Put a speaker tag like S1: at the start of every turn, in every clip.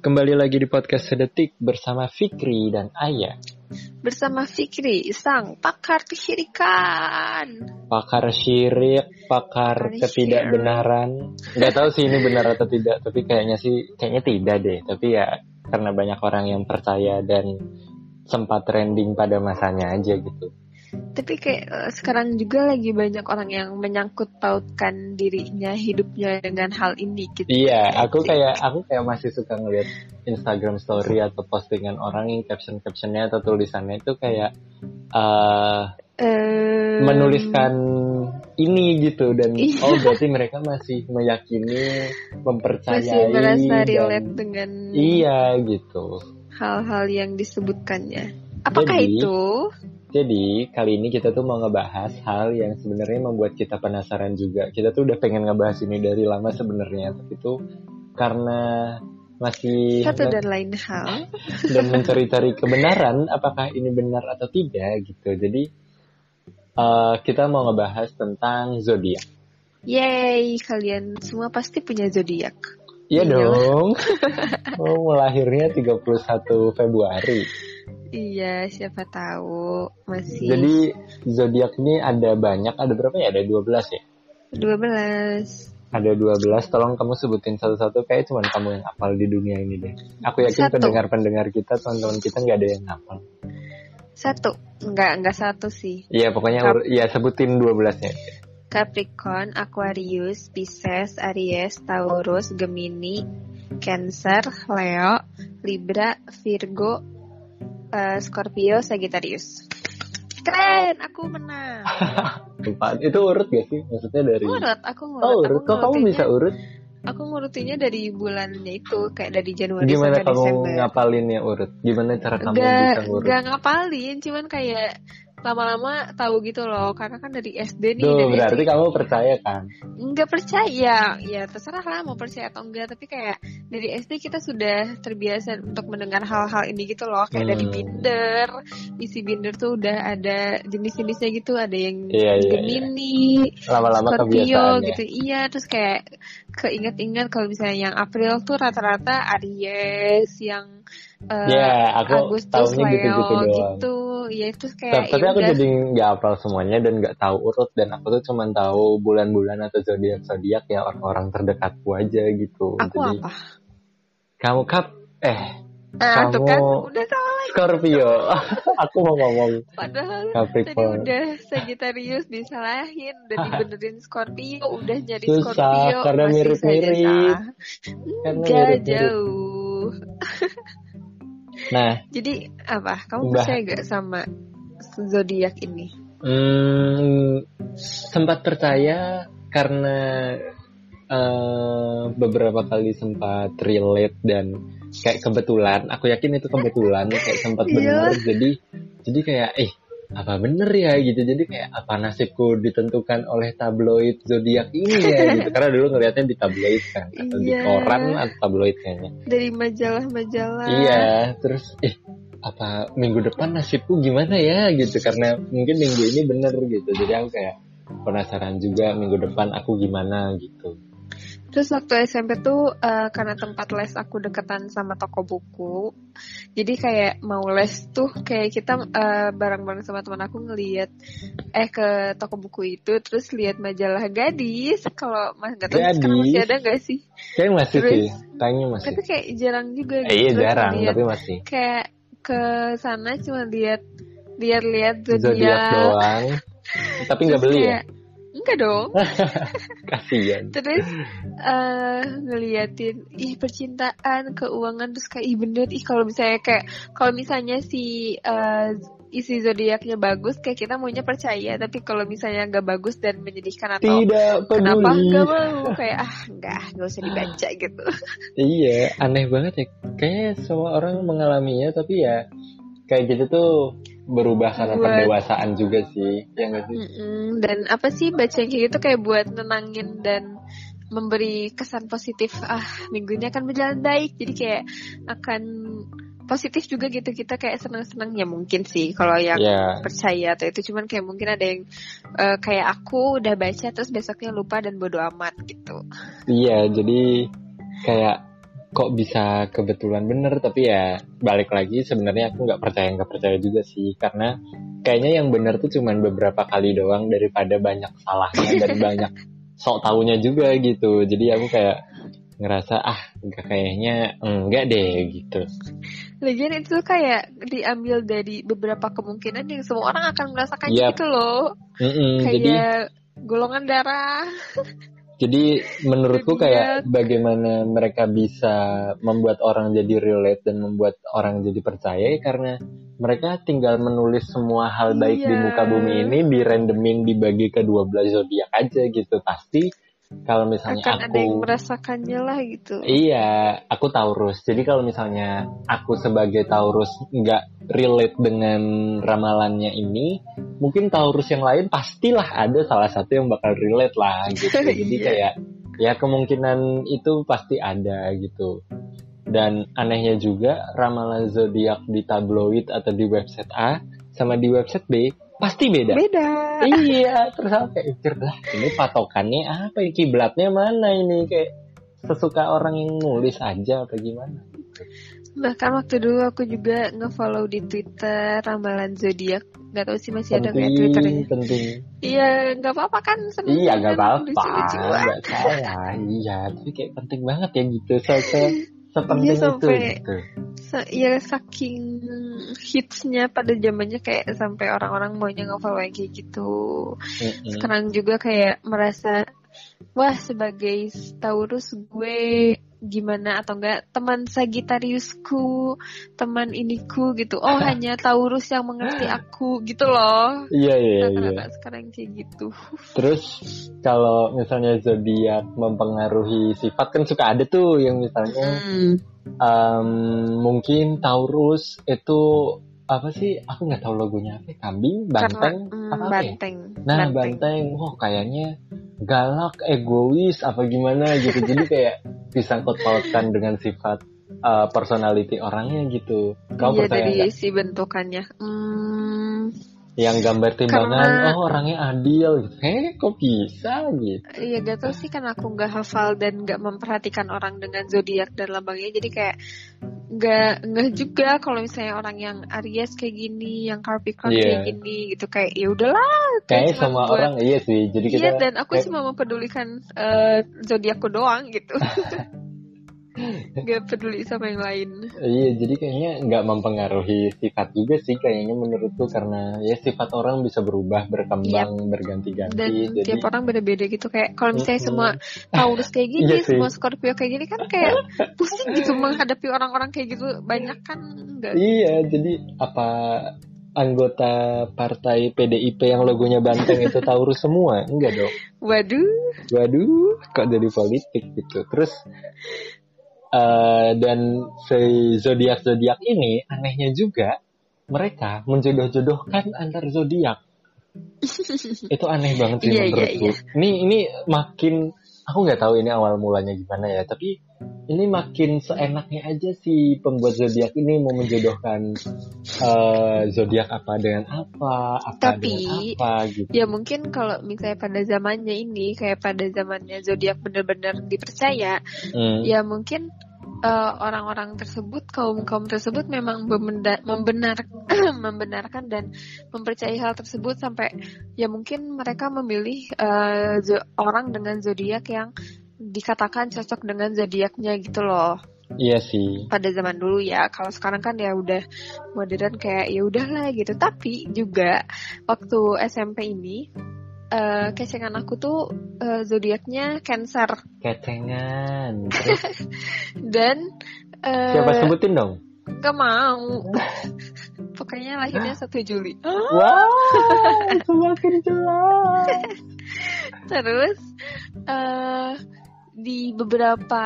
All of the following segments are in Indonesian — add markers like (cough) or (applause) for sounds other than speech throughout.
S1: Kembali lagi di podcast Sedetik bersama Fikri dan Aya,
S2: bersama Fikri, sang pakar kesyirikan.
S1: pakar syirik, pakar
S2: Pakar
S1: ketidakbenaran. Nggak tahu sih ini benar atau tidak, tapi kayaknya sih kayaknya tidak deh. Tapi ya karena banyak orang yang percaya dan sempat trending pada masanya aja gitu.
S2: Tapi kayak eh, sekarang juga lagi banyak orang yang menyangkut pautkan dirinya, hidupnya dengan hal ini gitu.
S1: Iya, aku kayak aku kayak masih suka ngeliat Instagram story atau postingan orang yang caption-captionnya atau tulisannya itu kayak eh
S2: Eh,
S1: menuliskan ini gitu dan
S2: Iya.
S1: oh berarti mereka masih meyakini mempercayai
S2: masih merasa
S1: dan-
S2: relate dengan
S1: iya gitu
S2: hal-hal yang disebutkannya. Apakah
S1: Jadi,
S2: itu?
S1: jadi kali ini kita tuh mau ngebahas hal yang sebenarnya membuat kita penasaran juga kita tuh udah pengen ngebahas ini dari lama sebenarnya tapi tuh karena masih
S2: Satu dan lain hal.
S1: dan mencari-cari kebenaran apakah ini benar atau tidak gitu jadi eh, kita mau ngebahas tentang zodiak
S2: Yeay, kalian semua pasti punya zodiak.
S1: Iya
S2: Iya. (laughs)
S1: dong. Oh, lahirnya 31 Februari.
S2: Iya, siapa tahu masih
S1: Jadi zodiak ini ada banyak, ada berapa ya? Ada 12 ya?
S2: 12.
S1: Ada 12, tolong kamu sebutin satu-satu kayak cuman kamu yang hafal di dunia ini deh. Aku yakin
S2: Satu.
S1: pendengar-pendengar kita, teman-teman kita nggak ada yang hafal.
S2: Satu. Enggak, enggak satu sih.
S1: Iya, pokoknya
S2: Kap-
S1: ur- ya sebutin 12-nya.
S2: Capricorn, Aquarius, Pisces, Aries, Taurus, Gemini, Cancer, Leo, Libra, Virgo, eh, Scorpio, Sagittarius. Keren, aku menang.
S1: Empat. Itu urut gak sih? Maksudnya dari
S2: Ngurut, aku ngurut.
S1: Oh, urut.
S2: Aku
S1: Kok kamu bisa urut?
S2: Aku ngurutinya dari bulannya itu, kayak dari Januari
S1: Gimana
S2: sampai Desember.
S1: kamu ngapalinnya urut? Gimana cara kamu
S2: Nggak,
S1: bisa ngurut?
S2: nggak ngapalin, cuman kayak lama-lama tahu gitu loh, karena kan dari SD nih.
S1: Duh,
S2: dari
S1: berarti
S2: SD.
S1: kamu percaya kan?
S2: nggak percaya ya terserah lah mau percaya atau enggak tapi kayak dari SD kita sudah terbiasa untuk mendengar hal-hal ini gitu loh kayak dari
S1: Hmm.
S2: binder isi binder tuh udah ada jenis-jenisnya gitu ada yang
S1: Iya, iya, iya.
S2: Gemini
S1: Lama-lama
S2: Scorpio
S1: kebiasaan ya.
S2: gitu iya terus kayak keinget-inget kalau misalnya yang April tuh rata-rata Aries yang eh,
S1: Ya, aku
S2: Agustus
S1: tahunya
S2: Leo
S1: gitu-gitu doang.
S2: gitu ya terus
S1: Tapi,
S2: kayak
S1: tapi
S2: ya
S1: aku
S2: udah.
S1: jadi nggak hafal semuanya dan nggak tahu urut dan aku tuh cuman tahu bulan-bulan atau zodiak-zodiak ya orang-orang terdekatku aja gitu.
S2: aku
S1: jadi
S2: apa
S1: kamu kap eh
S2: nah, tuh kan
S1: Kamu-
S2: udah salah lagi (laughs)
S1: Scorpio. aku mau ngomong
S2: padahal Tadi
S1: Capricorn.
S2: udah Sagittarius disalahin
S1: (laughs)
S2: dan dibenerin Scorpio, udah jadi
S1: Susah,
S2: Scorpio
S1: karena
S2: masih
S1: mirip-mirip.
S2: saja salah.
S1: Karena
S2: Enggak,
S1: Kan mirip-mirip.
S2: jauh.
S1: Nah,
S2: Jadi apa? Kamu
S1: Bah-
S2: percaya gak sama zodiak ini?
S1: Hmm, sempat percaya karena eh, beberapa kali sempat relate dan kayak kebetulan. Aku yakin itu kebetulan ya, kayak sempat benar. Jadi jadi kayak eh apa bener ya gitu. Jadi kayak apa nasibku ditentukan oleh tabloid zodiak ini ya gitu. Karena dulu ngelihatnya di tabloid kan atau di
S2: Iya.
S1: koran atau tabloid kayaknya.
S2: Dari majalah-majalah.
S1: Iya, terus eh apa minggu depan nasibku gimana ya gitu karena mungkin minggu ini bener gitu. Jadi aku kayak penasaran juga minggu depan aku gimana gitu.
S2: Terus waktu SMP tuh eh, karena tempat les aku deketan sama toko buku, jadi kayak mau les tuh kayak kita eh, bareng-bareng sama teman aku ngeliat eh ke toko buku itu, terus lihat majalah gadis. Kalau mas nggak tahu sekarang
S1: Gadis.
S2: masih ada nggak sih?
S1: Kayak masih
S2: Terus?
S1: sih, kayaknya masih.
S2: Tapi kayak jarang juga. gitu
S1: Eh, iya
S2: Terus
S1: jarang,
S2: ngeliat-
S1: tapi masih.
S2: Kayak ke sana cuma lihat lihat-lihat
S1: Zodiak
S2: zodiak. (laughs)
S1: doang. Tapi nggak beli ya?
S2: Enggak dong.
S1: Kasihan.
S2: terus eh ngeliatin ih percintaan keuangan terus kayak ih bener ih kalau misalnya kayak kalau misalnya si eh, isi zodiaknya bagus kayak kita maunya percaya tapi kalau misalnya nggak bagus dan menyedihkan atau
S1: Tidak
S2: Oh, kenapa nggak
S1: peduli.
S2: mau kayak ah nggak nggak usah dibaca gitu
S1: Iya, aneh banget ya. Kayaknya semua orang mengalaminya tapi ya kayak gitu tuh berubah karena
S2: Buat-
S1: pendewasaan juga sih. Ya nggak sih?
S2: Mm-mm. dan apa sih baca yang kayak gitu kayak buat nenangin dan memberi kesan positif ah minggu ini akan berjalan baik jadi kayak akan positif juga gitu kita kayak senang-senang ya mungkin sih kalau yang
S1: Iya.
S2: percaya atau itu cuman kayak mungkin ada yang eh, kayak aku udah baca terus besoknya lupa dan bodo amat gitu
S1: Iya, jadi kayak kok bisa kebetulan bener tapi ya balik lagi sebenarnya aku nggak percaya nggak percaya juga sih karena kayaknya yang bener tuh cuman beberapa kali doang daripada banyak salahnya dan banyak sok taunya juga gitu jadi aku kayak ngerasa ah nggak kayaknya enggak deh gitu
S2: Lagian itu tuh kayak diambil dari beberapa kemungkinan yang semua orang akan merasakan
S1: Yap.
S2: gitu loh.
S1: Mm-mm, Iya. Hmm, jadi
S2: Kayak golongan darah.
S1: Jadi menurutku
S2: Itu dia.
S1: kayak bagaimana mereka bisa membuat orang jadi relate dan membuat orang jadi percaya ya karena mereka tinggal menulis semua hal baik di
S2: Iya.
S1: muka bumi ini dirandomin dibagi ke 12 zodiak aja gitu. Pasti kalau misalnya
S2: akan ada
S1: aku
S2: yang merasakannya lah gitu.
S1: Iya, aku Taurus. Jadi kalau misalnya aku sebagai Taurus nggak relate dengan ramalannya ini, mungkin Taurus yang lain pastilah ada salah satu yang bakal relate lah gitu. Jadi
S2: Iya.
S1: kayak ya kemungkinan itu pasti ada gitu. Dan anehnya juga ramalan zodiak di tabloid atau di website A sama di website B pasti beda.
S2: Beda.
S1: (laughs) iya terus aku kayak mikir lah ini patokannya apa ini kiblatnya mana ini kayak sesuka orang yang nulis aja apa gimana
S2: Bahkan Iya, kan waktu dulu aku juga ngefollow di Twitter ramalan zodiak. Gak tau sih masih ada nggak
S1: penting
S2: Twitternya. (laughs)
S1: penting
S2: Iya, nggak apa-apa kan seneng
S1: iya gak
S2: kan,
S1: apa-apa
S2: lucu-lucuan.
S1: gak salah iya tapi kayak penting banget ya gitu so,
S2: (laughs)
S1: se- sepenting
S2: Iya,
S1: itu
S2: sampai-
S1: gitu
S2: Sa- ya saking hitsnya pada zamannya kayak sampai orang-orang maunya ngefollow yang kayak gitu.
S1: Mm-mm.
S2: Sekarang juga kayak merasa wah sebagai Taurus gue gimana atau enggak teman Sagitariusku, teman iniku gitu.
S1: (laughs)
S2: Oh, hanya Taurus yang mengerti aku gitu loh.
S1: iya iya iya
S2: Rata-rata sekarang kayak gitu.
S1: Terus kalau misalnya zodiak mempengaruhi sifat kan suka ada tuh yang misalnya em, mungkin Taurus itu apa sih? Aku nggak tahu logonya apa. ya? Kambing, banteng,
S2: Karena- mm,
S1: apa apa ya?
S2: banteng.
S1: Nah, banteng, wah kayaknya galak, egois, apa gimana gitu. Jadi kayak disangkut pautkan dengan sifat eh, personality orangnya gitu. Kau
S2: Iya,
S1: percaya
S2: dari
S1: nggak?
S2: si bentukannya. Hmm,
S1: Yang gambar timbangan,
S2: Karena-
S1: oh orangnya adil. gitu. Heh, kok bisa gitu?
S2: Iya gak tau sih kan aku nggak hafal dan nggak memperhatikan orang dengan zodiak dan lambangnya jadi kayak nggak nggak juga kalau misalnya orang yang Aries kayak gini, yang Capricorn
S1: Iya.
S2: kayak gini gitu kayak ya udahlah.
S1: Kayaknya
S2: cuma
S1: semua
S2: buat-
S1: orang iya sih. Jadi kita
S2: Iya dan aku
S1: kayak-
S2: cuma mempedulikan eh, zodiakku doang
S1: (laughs)
S2: gitu. gak peduli sama yang lain.
S1: Iya, jadi kayaknya nggak mempengaruhi sifat juga sih kayaknya menurutku karena ya sifat orang bisa berubah, berkembang, berganti-ganti.
S2: Dan
S1: jadi
S2: tiap orang beda-beda gitu kayak kalau misalnya
S1: Mm-mm.
S2: semua Taurus kayak gini,
S1: Iya sih.
S2: semua Scorpio kayak gini kan kayak pusing gitu menghadapi orang-orang kayak gitu banyak kan enggak
S1: Iya, jadi apa anggota partai PDIP yang logonya banteng itu Taurus semua? Enggak dong.
S2: Waduh.
S1: Waduh, kok jadi politik gitu. Terus eh, dan si zodiak-zodiak ini anehnya juga mereka menjodoh-jodohkan antar zodiak.
S2: (laughs)
S1: Itu aneh banget sih
S2: Iya, iya,
S1: menurutku.
S2: iya.
S1: Ini ini makin aku nggak tahu ini awal mulanya gimana ya, tapi ini makin seenaknya aja si pembuat zodiak ini mau menjodohkan eh, zodiak apa dengan apa, apa
S2: Tapi-
S1: dengan apa gitu.
S2: Ya mungkin kalau misalnya pada zamannya ini kayak pada zamannya zodiak benar-benar dipercaya,
S1: Hmm.
S2: ya mungkin eh, orang-orang tersebut kaum kaum tersebut memang memenda- membenar (clears throat) membenarkan dan mempercayai hal tersebut sampai ya mungkin mereka memilih eh, zo- orang dengan zodiak yang dikatakan cocok dengan zodiaknya gitu loh
S1: Iya sih.
S2: pada zaman dulu ya kalau sekarang kan ya udah modern kayak ya udahlah gitu tapi juga waktu SMP ini eh kecengan aku tuh eh, zodiaknya Cancer
S1: Kecengan. Terus
S2: dan eh,
S1: siapa sebutin dong?
S2: nggak mau (laughs) pokoknya lahirnya 1 Juli
S1: Wah, semakin jelas.
S2: terus eh di beberapa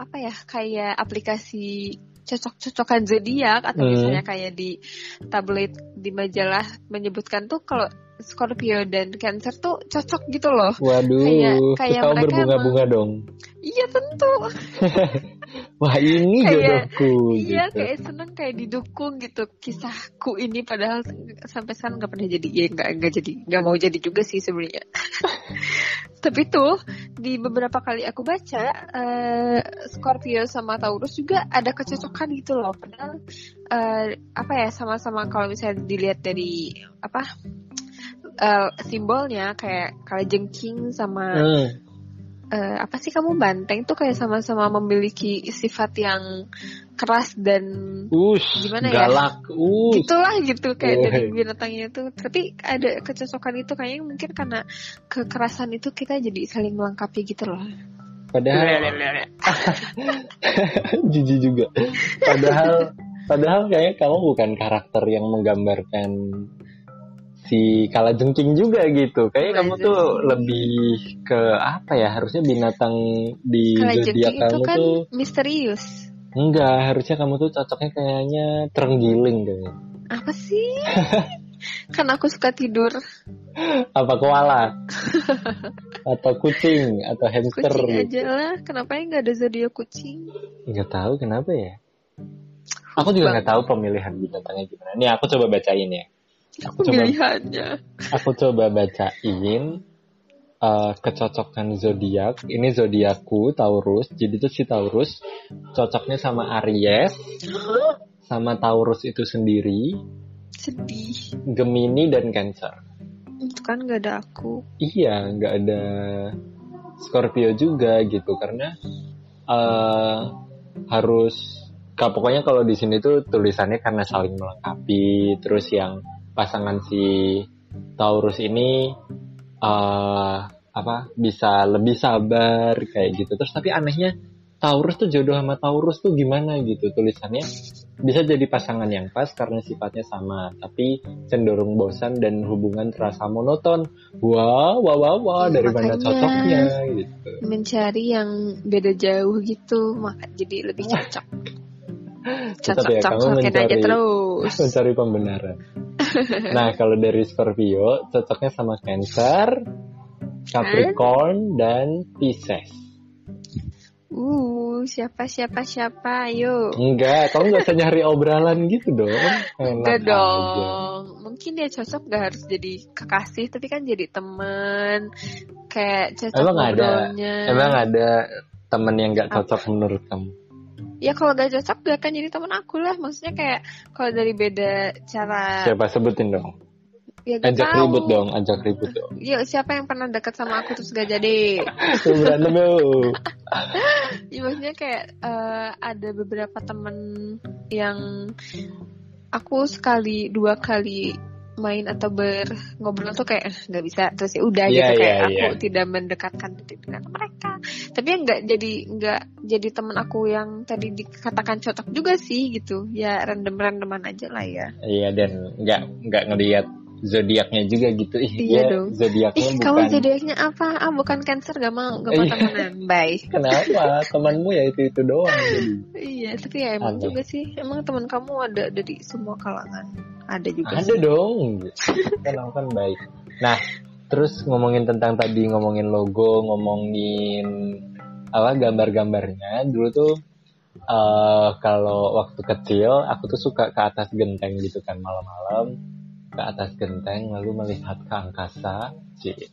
S2: apa ya kayak aplikasi cocok-cocokan zodiak atau
S1: Hmm.
S2: misalnya kayak di tabloid di majalah menyebutkan tuh kalau Scorpio dan Cancer tuh cocok gitu loh.
S1: Waduh,
S2: Kayak- kayak
S1: kau
S2: mereka
S1: berbunga-bunga dong.
S2: Iya tentu.
S1: Wah, ini
S2: Kayak-
S1: jodohku
S2: Iya
S1: gitu.
S2: kayak seneng kayak didukung gitu kisahku ini padahal sampai sekarang nggak pernah jadi ya nggak nggak jadi nggak mau jadi juga sih sebenarnya. (laughs) Tapi tuh di beberapa kali aku baca eh, Scorpio sama Taurus juga ada kecocokan gitu loh padahal eh, apa ya sama-sama kalau misalnya dilihat dari apa eh, simbolnya kayak kalajengking sama
S1: Hmm,
S2: eh, apa sih kamu banteng tuh kayak sama-sama memiliki sifat yang keras dan
S1: Ush,
S2: Gimana ya?
S1: galak. Ush.
S2: gitulah gitu kayak
S1: Woi.
S2: dari binatangnya tuh tapi ada kecocokan itu kayaknya mungkin karena kekerasan itu kita jadi saling melengkapi gitu loh
S1: Ya.
S2: Iya,
S1: Padahal (laughs) jijik juga. Padahal padahal kayaknya kamu bukan karakter yang menggambarkan si kalajengking juga gitu. Kayaknya kamu tuh
S2: Kalajengking.
S1: lebih ke apa ya? Harusnya binatang di zodiak
S2: kalajengking itu
S1: kamu
S2: kan
S1: tuh
S2: misterius
S1: enggak, harusnya kamu tuh cocoknya kayaknya terenggiling deh.
S2: apa
S1: (laughs)
S2: sih kan aku suka tidur
S1: Apa koala? atau kucing atau hamster
S2: kucing
S1: gitu.
S2: aja lah kenapa ya nggak ada zodiak kucing
S1: Nggak tahu kenapa ya. Aku juga nggak tahu pemilihan binatangnya gimana. Nih aku coba bacain ya. Aku coba
S2: pilihannya
S1: aku coba bacain eh, kecocokan zodiak. Ini zodiakku Taurus. Jadi tuh si Taurus cocoknya sama Aries, sama Taurus itu sendiri,
S2: sedih
S1: Gemini dan Cancer.
S2: itu kan nggak ada aku
S1: Iya, nggak ada Scorpio juga gitu karena eh harus ka- pokoknya kalau di sini tuh tulisannya karena saling melengkapi terus yang pasangan si Taurus ini eh apa bisa lebih sabar kayak gitu terus tapi anehnya Taurus tuh jodoh sama Taurus tuh gimana gitu tulisannya bisa jadi pasangan yang pas karena sifatnya sama tapi cenderung bosan dan hubungan terasa monoton wow wow wow, wow
S2: Iya,
S1: dari mana
S2: makanya.
S1: cocoknya gitu
S2: mencari yang beda jauh gitu maka jadi lebih cocok cocok
S1: ya, kamu
S2: cocokin aja
S1: mencari-
S2: terus
S1: mencari
S2: (laughs)
S1: pembenaran. Nah, kalau dari Scorpio cocoknya sama Cancer, Capricorn dan Pisces.
S2: uh siapa siapa siapa ayo
S1: Enggak, kamu nggak usah nyari obrolan gitu dong. Enak
S2: Enggak
S1: aja.
S2: dong, mungkin dia cocok gak harus jadi kekasih, tapi kan jadi temen, kayak cocok
S1: Emang ada?
S2: ngobrolnya.
S1: Emang ada temen yang nggak cocok menurut kamu?
S2: Ya kalau gak cocok gak akan jadi temen aku lah, maksudnya kayak kalau dari beda cara,
S1: Siapa sebutin dong?
S2: ya gak
S1: Ajak
S2: tahu.
S1: ribut dong, ajak ribut
S2: (laughs)
S1: dong.
S2: Ya siapa yang pernah deket sama aku terus gak jadi?
S1: Tuh, Berantem yuk.
S2: Ya, maksudnya kayak eh, ada beberapa temen yang aku sekali dua kali main atau ber ngobrol tuh kayak "Eh, nggak bisa terus ya udah
S1: Iya,
S2: gitu kayak
S1: iya,
S2: aku
S1: iya.
S2: tidak mendekatkan diri dengan mereka tapi yang nggak jadi nggak jadi temen aku yang tadi dikatakan cocok juga sih gitu ya random randoman aja lah ya
S1: Iya dan nggak nggak ngelihat zodiaknya juga gitu. Ih,
S2: Iya
S1: dia
S2: dong.
S1: Zodiaknya
S2: ih
S1: Oh, bukan.
S2: kamu zodiaknya apa ah bukan cancer gak mau gak mau
S1: Iya.
S2: temenan bye
S1: Kenapa? Temanmu ya itu itu doang.
S2: (laughs)
S1: Jadi.
S2: iya tapi ya emang
S1: Aneh.
S2: juga sih emang teman kamu ada dari semua kalangan ada juga
S1: (laughs) Ada dong. Kan aku kan baik. Nah, terus ngomongin tentang tadi ngomongin logo, ngomongin apa gambar-gambarnya. Dulu tuh eh kalau waktu kecil aku tuh suka ke atas genteng gitu kan malam-malam ke atas genteng lalu melihat ke angkasa. Cik.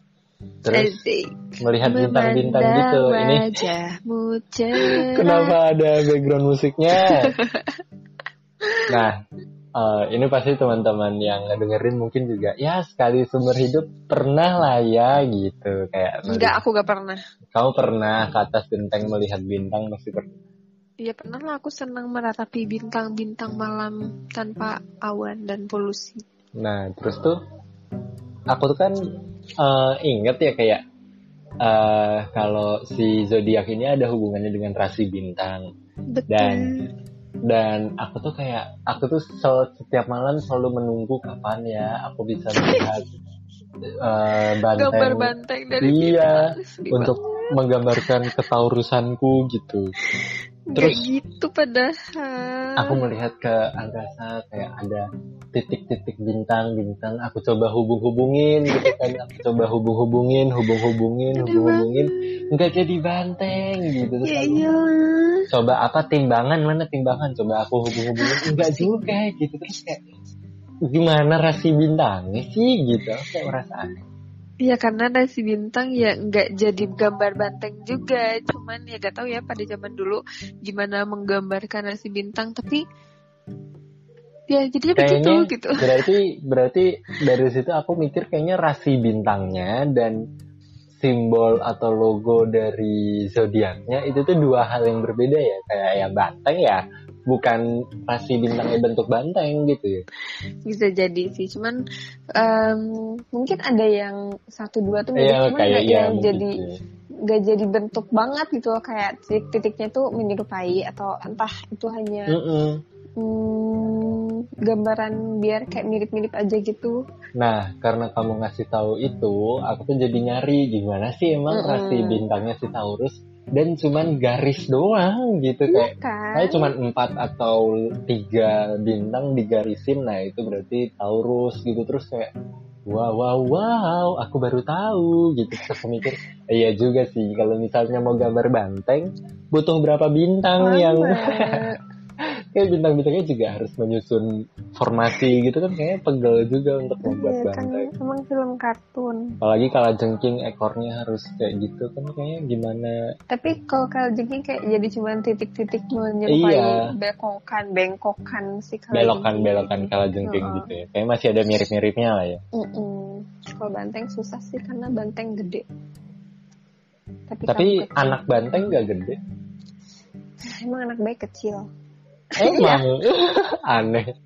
S1: Terus
S2: Asik.
S1: melihat bintang-bintang
S2: Memandang
S1: gitu. Ini
S2: wajahmu cerah.
S1: Kenapa ada background
S2: (laughs)
S1: musiknya? nah, eh, ini pasti teman-teman yang ngedengerin mungkin juga, ya sekali seumur hidup pernah lah ya gitu kayak.
S2: Enggak,
S1: melihat-
S2: aku gak pernah.
S1: Kamu pernah ke atas genteng melihat bintang pasti pernah.
S2: Ya pernah lah aku senang meratapi bintang-bintang malam tanpa awan dan polusi.
S1: Nah, terus tuh aku tuh kan eh, inget ya kayak eh, kalau si zodiak ini ada hubungannya dengan rasi bintang.
S2: Betul.
S1: Dan- dan aku tuh kayak aku tuh sel- setiap malam selalu menunggu kapan ya aku bisa melihat eh,
S2: gambar
S1: banteng
S2: banteng dari
S1: Iya,
S2: bintang. Sedih
S1: untuk
S2: banget.
S1: menggambarkan ketaurusanku gitu.
S2: Nggak
S1: terus-
S2: gitu padahal.
S1: Aku melihat ke angkasa kayak ada titik-titik bintang-bintang. Aku coba hubung-hubungin gitu kan. Aku coba hubung-hubungin, hubung-hubungin,
S2: Sedih
S1: hubung-hubungin.
S2: banget.
S1: Nggak jadi banteng gitu. Terus
S2: Ya
S1: aku
S2: iyalah.
S1: coba apa timbangan mana timbangan coba aku hubung-hubungin enggak juga gitu terus kayak gimana rasi bintangnya sih gitu Aku kayak merasa aneh
S2: Iya karena nasi bintang ya nggak jadi gambar banteng juga, cuman ya gak tahu ya pada zaman dulu gimana menggambarkan nasi bintang, tapi ya jadinya begitu
S1: Kayaknya
S2: gitu. (laughs)
S1: berarti berarti dari situ aku mikir kayaknya rasi bintangnya dan simbol atau logo dari zodiaknya itu tuh dua hal yang berbeda ya kayak ya banteng ya bukan rasi bintangnya bentuk banteng gitu ya
S2: Bisa jadi sih, cuman em, mungkin ada yang satu dua tuh mirip,
S1: Iya,
S2: cuman
S1: kayak
S2: nggak
S1: ya
S2: yang jadi
S1: gitu.
S2: nggak jadi bentuk banget gitu loh kayak titik-titiknya tuh menyerupai atau entah itu hanya
S1: Mm-mm.
S2: Hmm, gambaran biar kayak mirip-mirip aja gitu.
S1: Nah, karena kamu ngasih tahu itu, aku tuh jadi nyari gimana sih emang
S2: Mm-mm.
S1: rasi bintangnya si Taurus dan cuman garis doang gitu kayak
S2: Iya kan?
S1: Saya cuma empat atau tiga bintang digarisin, nah itu berarti Taurus gitu terus kayak wow wow wow, aku baru tahu gitu terus aku mikir iya juga sih kalau misalnya mau gambar banteng butuh berapa bintang
S2: Sama.
S1: yang (laughs) kayak bintang-bintangnya juga harus menyusun formasi gitu kan kayaknya pegel juga untuk membuat
S2: Iya kan
S1: banteng.
S2: emang film kartun.
S1: Apalagi kalau jengking ekornya harus kayak gitu kan kayaknya gimana
S2: Tapi kalau kalau jengking kayak jadi cuma titik-titik menyerupai
S1: Iya.
S2: belokan, bengkokan sih kalau jengking.
S1: belokan-belokan kalau jengking
S2: Heeh.
S1: gitu ya. Kayaknya masih ada mirip-miripnya lah ya.
S2: Mm-mm. Kalau banteng susah sih karena banteng gede. Tapi,
S1: Tapi
S2: kamu kecil.
S1: anak banteng gak gede.
S2: Ah, emang anak baik kecil.
S1: Emang (laughs) aneh.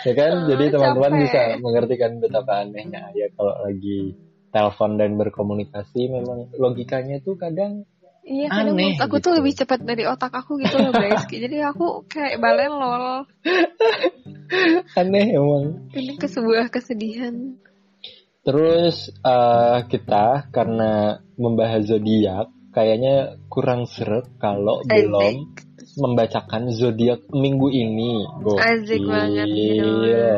S1: Ya kan,
S2: Ah,
S1: jadi teman-teman
S2: capek.
S1: bisa mengertikan betapa anehnya ya kalau lagi telepon dan berkomunikasi memang logikanya tuh kadang
S2: Iya, kadang
S1: Aneh,
S2: mulut aku
S1: gitu.
S2: tuh lebih cepat dari otak aku gitu loh guys. Jadi aku kayak balen lol.
S1: aneh emang.
S2: Ini ke sebuah kesedihan.
S1: Terus eh, kita karena membahas zodiak kayaknya kurang seret kalau belum membacakan zodiak minggu ini. Gokil.
S2: Asik banget gila.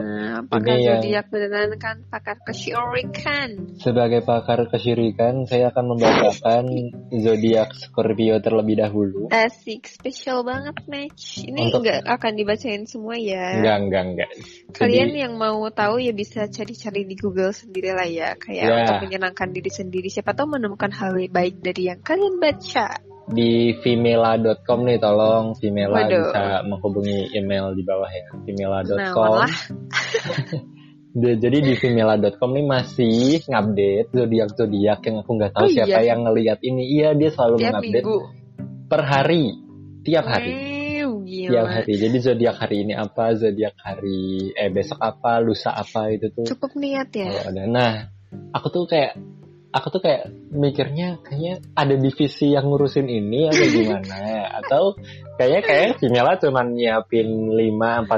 S1: Ini
S2: Pakar
S1: ya. yang-
S2: zodiak beneran kan pakar kesyirikan.
S1: Sebagai pakar kesyirikan, saya akan membacakan zodiak Scorpio terlebih dahulu.
S2: Asik, spesial banget match. Ini
S1: Untuk-
S2: nggak akan dibacain semua ya.
S1: Enggak, enggak, enggak.
S2: Kalian
S1: Jadi,
S2: yang mau tahu ya bisa cari-cari di Google sendiri lah ya. Kayak
S1: Ya.
S2: untuk menyenangkan diri sendiri. Siapa tahu menemukan hal baik dari yang kalian baca.
S1: di vimela.com nih tolong Vimela
S2: Waduh.
S1: bisa menghubungi email di bawah ya.
S2: Nah,
S1: Vimela.com. (laughs) Dia- jadi di vimela.com nih masih ngupdate zodiak-zodiak yang aku nggak tahu
S2: Oh,
S1: siapa
S2: iya.
S1: yang ngelihat ini. Iya, dia selalu
S2: Tiap
S1: mengupdate
S2: minggu.
S1: per hari, tiap hari.
S2: Wow, gila.
S1: Tiap hari. Jadi zodiak hari ini apa, zodiak hari eh besok apa, lusa apa itu tuh
S2: Cukup niat ya.
S1: Kalau ada. Nah, aku tuh kayak aku tuh kayak mikirnya kayaknya ada divisi yang ngurusin ini atau gimana
S2: (laughs)
S1: atau kayaknya kayak Vimela cuman nyiapin 5 4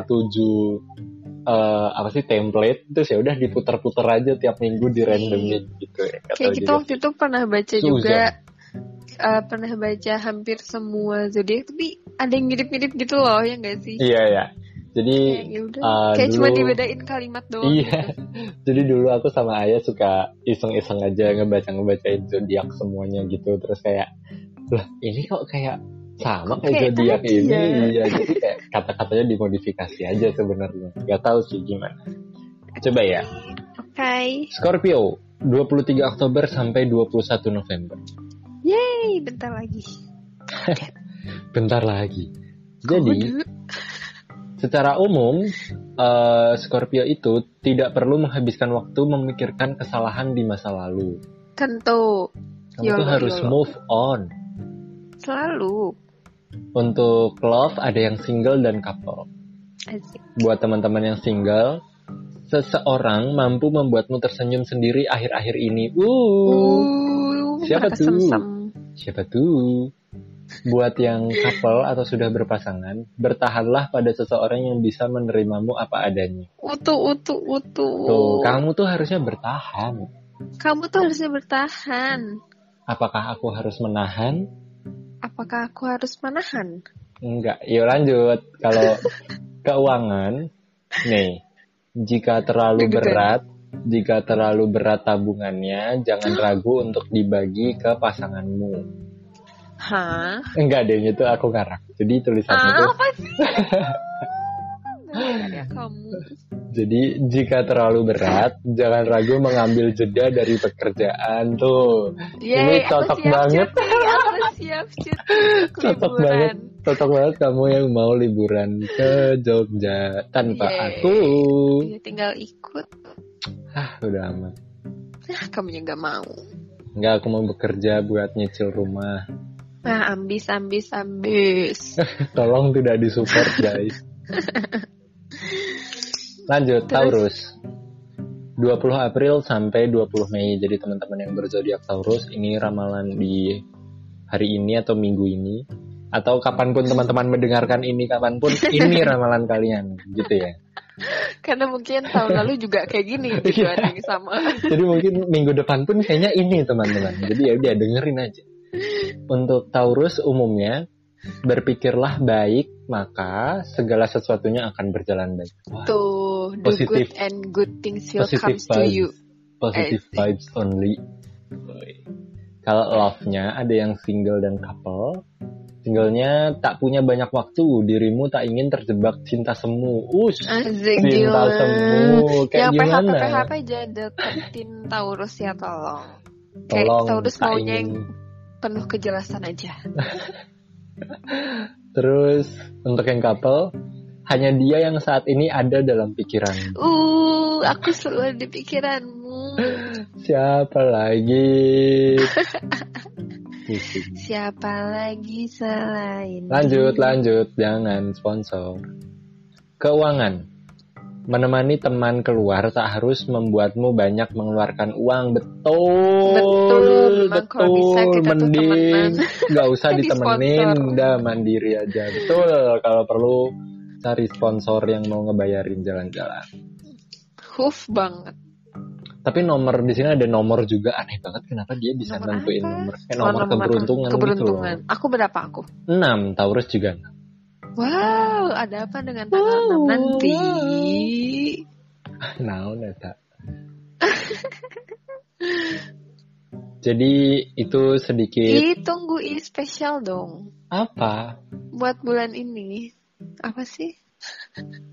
S1: 7 eh apa sih template terus ya udah diputer-puter aja tiap minggu di randomin gitu ya. Nggak
S2: Kayak
S1: tahu
S2: gitu
S1: juga.
S2: waktu itu pernah baca
S1: Susan.
S2: juga eh, pernah baca hampir semua zodiak tapi ada yang mirip-mirip gitu loh ya enggak sih?
S1: Iya ya. Jadi
S2: Kayak ya udah.
S1: eh,
S2: Kayak cuma
S1: dulu-
S2: dibedain kalimat doang. gitu."
S1: Iya. Jadi dulu aku sama ayah suka iseng-iseng aja
S2: Hmm.
S1: ngebaca-ngebacain zodiak semuanya gitu. Terus kayak, lah ini kok kayak sama
S2: Kok kayak
S1: kayak zodiak
S2: tadi
S1: ini.
S2: ya?"
S1: Iya, jadi kayak kata-katanya dimodifikasi aja sebenarnya. Gak tahu sih gimana. (laughs) Coba ya,
S2: Oke.
S1: Scorpio 23 Oktober sampai 21 November.
S2: Yeay, bentar lagi.
S1: Bentar lagi. Jadi,
S2: gitu?
S1: Secara umum, eh, Scorpio itu tidak perlu menghabiskan waktu memikirkan kesalahan di masa lalu.
S2: tentu
S1: Kamu
S2: Yolo,
S1: tuh harus
S2: yolo.
S1: move on.
S2: selalu
S1: Untuk love ada yang single dan couple.
S2: asik.
S1: Buat teman-teman yang single, seseorang mampu membuatmu tersenyum sendiri akhir-akhir ini. Uh,
S2: Uh,
S1: siapa
S2: mereka
S1: tuh?
S2: sem-sem.
S1: siapa tuh? Buat yang couple atau sudah berpasangan, bertahanlah pada seseorang yang bisa menerimamu apa adanya.
S2: Utu utu utu.
S1: Tuh, kamu tuh harusnya bertahan.
S2: Kamu tuh harusnya bertahan.
S1: Apakah aku harus menahan?
S2: Apakah aku harus menahan?
S1: Enggak. Yuk lanjut. Kalau keuangan, nih, jika terlalu
S2: Deg-degan.
S1: berat, jika terlalu berat tabungannya, jangan ragu untuk dibagi ke pasanganmu.
S2: Hah?
S1: Enggak deh, itu aku ngarang. Jadi tulisannya
S2: Ah,
S1: tuh
S2: apa sih? adalah karya Ya, kamu.
S1: Jadi jika terlalu berat, jangan ragu mengambil jeda dari pekerjaan tuh.
S2: Yeay, aku
S1: cocok
S2: siap,
S1: banget.
S2: cuti, Aku siap cuti. Aku
S1: Cocok
S2: liburan.
S1: banget, cocok banget kamu yang mau liburan ke Jogja tanpa
S2: Yeay.
S1: aku.
S2: Ya, tinggal ikut.
S1: Ah, udah amat.
S2: Ah, kamunya nggak mau.
S1: Enggak, aku mau bekerja buat nyicil rumah.
S2: Nah, ambis, ambis,
S1: (laughs)
S2: ambis.
S1: Tolong tidak disupport, guys. Lanjut,
S2: Terus?
S1: Taurus. 20 April sampai 20 Mei. Jadi teman-teman yang berzodiak Taurus ini ramalan di hari ini atau minggu ini atau kapanpun teman-teman mendengarkan ini kapanpun ini ramalan kalian gitu ya.
S2: Karena mungkin tahun lalu juga kayak gini
S1: (laughs)
S2: gitu
S1: Iya.
S2: ada yang sama.
S1: Jadi mungkin minggu depan pun kayaknya ini teman-teman. Jadi ya udah dengerin aja. Untuk Taurus umumnya berpikirlah baik maka segala sesuatunya akan berjalan baik. Wah,
S2: Tuh, do
S1: Positif.
S2: good and good things will
S1: Positif
S2: come to
S1: vibes.
S2: you.
S1: positive
S2: Eh.
S1: vibes only. Woi. Kalau love-nya ada yang single dan couple. Singlenya tak punya banyak waktu, dirimu tak ingin terjebak cinta semu. Ush,
S2: Asik Ya,
S1: cinta
S2: gila.
S1: semu kayak
S2: Yang PHP
S1: gimana?
S2: PHP aja deketin Taurus ya tolong. Kayak
S1: Tolong,
S2: Taurus
S1: tak
S2: maunya yang
S1: ingin.
S2: penuh kejelasan aja.
S1: Terus untuk yang couple, hanya dia yang saat ini ada dalam pikiran.
S2: Uh, aku selalu ada di pikiranmu.
S1: Siapa
S2: (laughs)
S1: lagi? Pusing.
S2: Siapa lagi selain
S1: Lanjut, lanjut, jangan sponsor. Keuangan. Menemani teman keluar tak harus membuatmu banyak mengeluarkan uang. Betul.
S2: Betul, memang kalau bisa kita tuh
S1: Mending nggak usah
S2: (laughs) Jadi
S1: ditemenin,
S2: sponsor.
S1: udah mandiri aja. Betul. Kalau perlu cari sponsor yang mau ngebayarin jalan-jalan.
S2: Huf banget.
S1: Tapi nomor di sini ada nomor juga aneh banget. Kenapa dia bisa
S2: Nomor
S1: nentuin
S2: apa? Oh,
S1: nomor? Eh, nomor,
S2: Nomor-
S1: keberuntungan,
S2: Keberuntungan. Aku berapa aku?
S1: gitu loh. 6, Taurus juga.
S2: Wow, ada apa dengan
S1: Wow,
S2: tanggal 6 nanti?
S1: Naon
S2: (laughs)
S1: eta. Jadi itu sedikit
S2: Ih, tunggu ih spesial dong.
S1: apa?
S2: Buat bulan ini. Apa sih?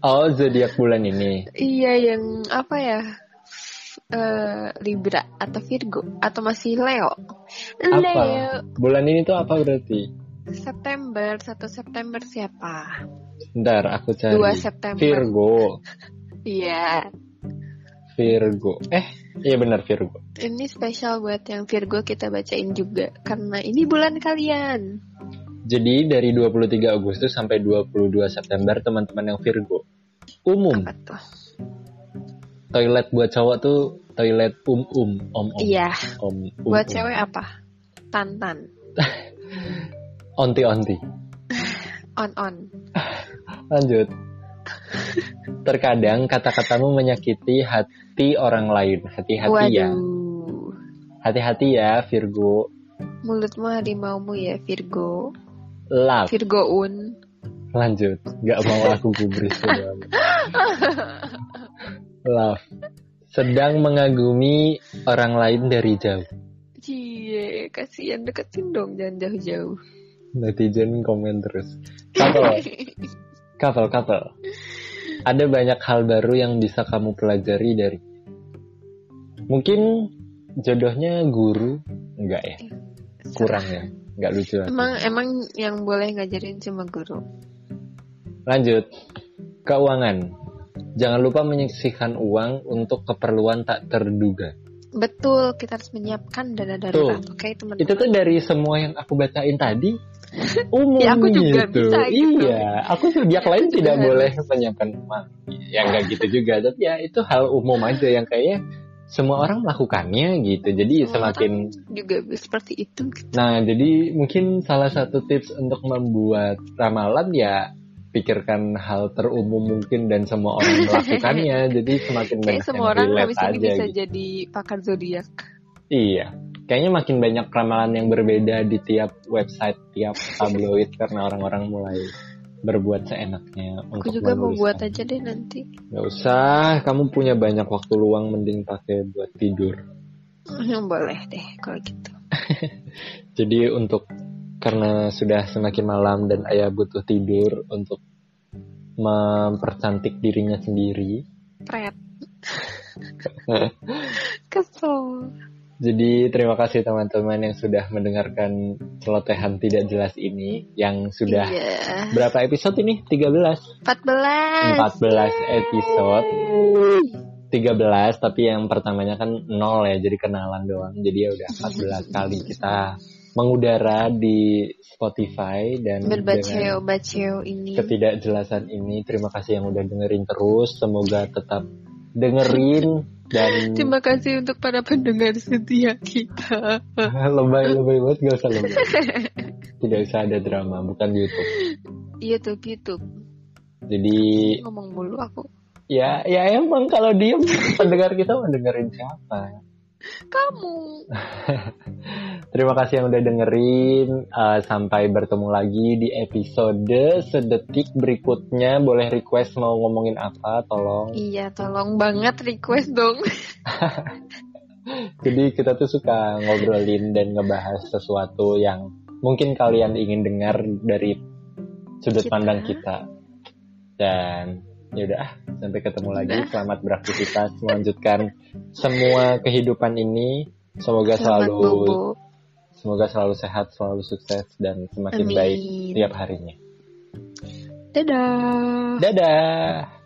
S1: Oh, zodiak bulan ini.
S2: Iya, yang apa ya? Eh, Libra atau Virgo atau masih Leo. Iya,
S1: Apa?
S2: Leo
S1: Bulan ini tuh apa berarti?
S2: September, 1 September siapa?
S1: Ntar aku cari.
S2: 2 September.
S1: Virgo.
S2: Iya.
S1: Virgo. Eh, iya benar Virgo.
S2: Ini spesial buat yang Virgo kita bacain juga karena ini bulan kalian.
S1: Jadi dari 23 Agustus sampai 22 September teman-teman yang Virgo. Umum,
S2: Apa tuh?
S1: toilet buat cowok tuh toilet um-um, om-om.
S2: Iya,
S1: Om, um,
S2: buat cewek apa? Tantan.
S1: Onti-onti.
S2: On on.
S1: Lanjut. Terkadang kata-katamu menyakiti hati orang lain. Hati-hati
S2: Waduh.
S1: ya. Hati-hati ya, Virgo.
S2: Mulutmu harimaumu ya Virgo.
S1: Love.
S2: Virgoun.
S1: Lanjut. Gak mau aku gubris. bodo amat. Love. Sedang mengagumi orang lain dari jauh.
S2: Cie, kasihan deketin dong jangan jauh-jauh.
S1: Netizen komen terus. Couple, couple, couple. Ada banyak hal baru yang bisa kamu pelajari dari. Mungkin jodohnya guru, enggak ya? kurang ya nggak lucu lah.
S2: (laughs) Emang emang yang boleh ngajarin cuma guru.
S1: lanjut keuangan jangan lupa menyisihkan uang untuk keperluan tak terduga
S2: Betul, kita harus menyiapkan dana darurat. Oke, teman-teman.
S1: itu tuh dari semua yang aku bacain
S2: (laughs)
S1: tadi umum
S2: Ya, aku juga
S1: gitu.
S2: bisa gitu.
S1: iya aku zodiak
S2: Ya,
S1: lain
S2: aku juga
S1: tidak
S2: harus.
S1: boleh menyiapkan uang ya nggak gitu juga tapi ya itu hal umum aja yang kayaknya semua orang melakukannya gitu jadi
S2: Semua
S1: semakin
S2: orang juga seperti itu.
S1: Nah, jadi mungkin salah satu tips untuk membuat ramalan ya pikirkan hal terumum mungkin dan semua
S2: (laughs)
S1: orang melakukannya. jadi semakin
S2: Kayak
S1: banyak
S2: semua orang
S1: Nah, relate
S2: habis ini
S1: aja
S2: bisa
S1: gitu.
S2: jadi pakar zodiak.
S1: Iya. Kayaknya makin banyak ramalan yang berbeda di tiap website, tiap tabloid karena orang-orang mulai berbuat seenaknya
S2: Aku
S1: untuk
S2: juga
S1: menulis.
S2: mau
S1: kan.
S2: buat aja deh nanti.
S1: Nggak usah, kamu punya banyak waktu luang mending pakai buat tidur.
S2: Yang Hmm, boleh deh kalau gitu.
S1: Jadi untuk karena sudah semakin malam dan ayah butuh tidur untuk mempercantik dirinya sendiri. (laughs)
S2: Pret. Kesel.
S1: Jadi terima kasih teman-teman yang sudah mendengarkan celotehan tidak jelas ini yang sudah
S2: Iya.
S1: berapa episode ini? 13.
S2: 14.
S1: 14 episode. 13 tapi yang pertamanya kan nol ya jadi kenalan doang. Jadi ya udah 14 kali kita mengudara di Spotify dan dengan
S2: Berbaceo, baceo ini.
S1: ketidakjelasan ini terima kasih yang udah dengerin terus. Semoga tetap dengerin dan
S2: Terima kasih untuk para pendengar setia kita.
S1: lebay lebay banget gak usah lebay tidak usah ada drama bukan di YouTube
S2: YouTube, YouTube.
S1: jadi
S2: Ngomong mulu aku.
S1: ya ya emang kalau diem (laughs) pendengar kita mendengarin siapa
S2: Kamu.
S1: terima kasih yang udah dengerin Eh, sampai bertemu lagi di episode sedetik berikutnya boleh request mau ngomongin apa tolong
S2: Iya, tolong banget request dong.
S1: jadi kita tuh suka ngobrolin dan ngebahas sesuatu yang mungkin kalian ingin dengar dari sudut
S2: Kita.
S1: pandang kita dan ya udah ah, sampai ketemu lagi selamat beraktivitas melanjutkan semua kehidupan ini semoga
S2: Selamat
S1: selalu
S2: bobo.
S1: semoga selalu sehat selalu sukses dan semakin baik Iya.
S2: Amin.
S1: tiap harinya
S2: Dadah.
S1: dadah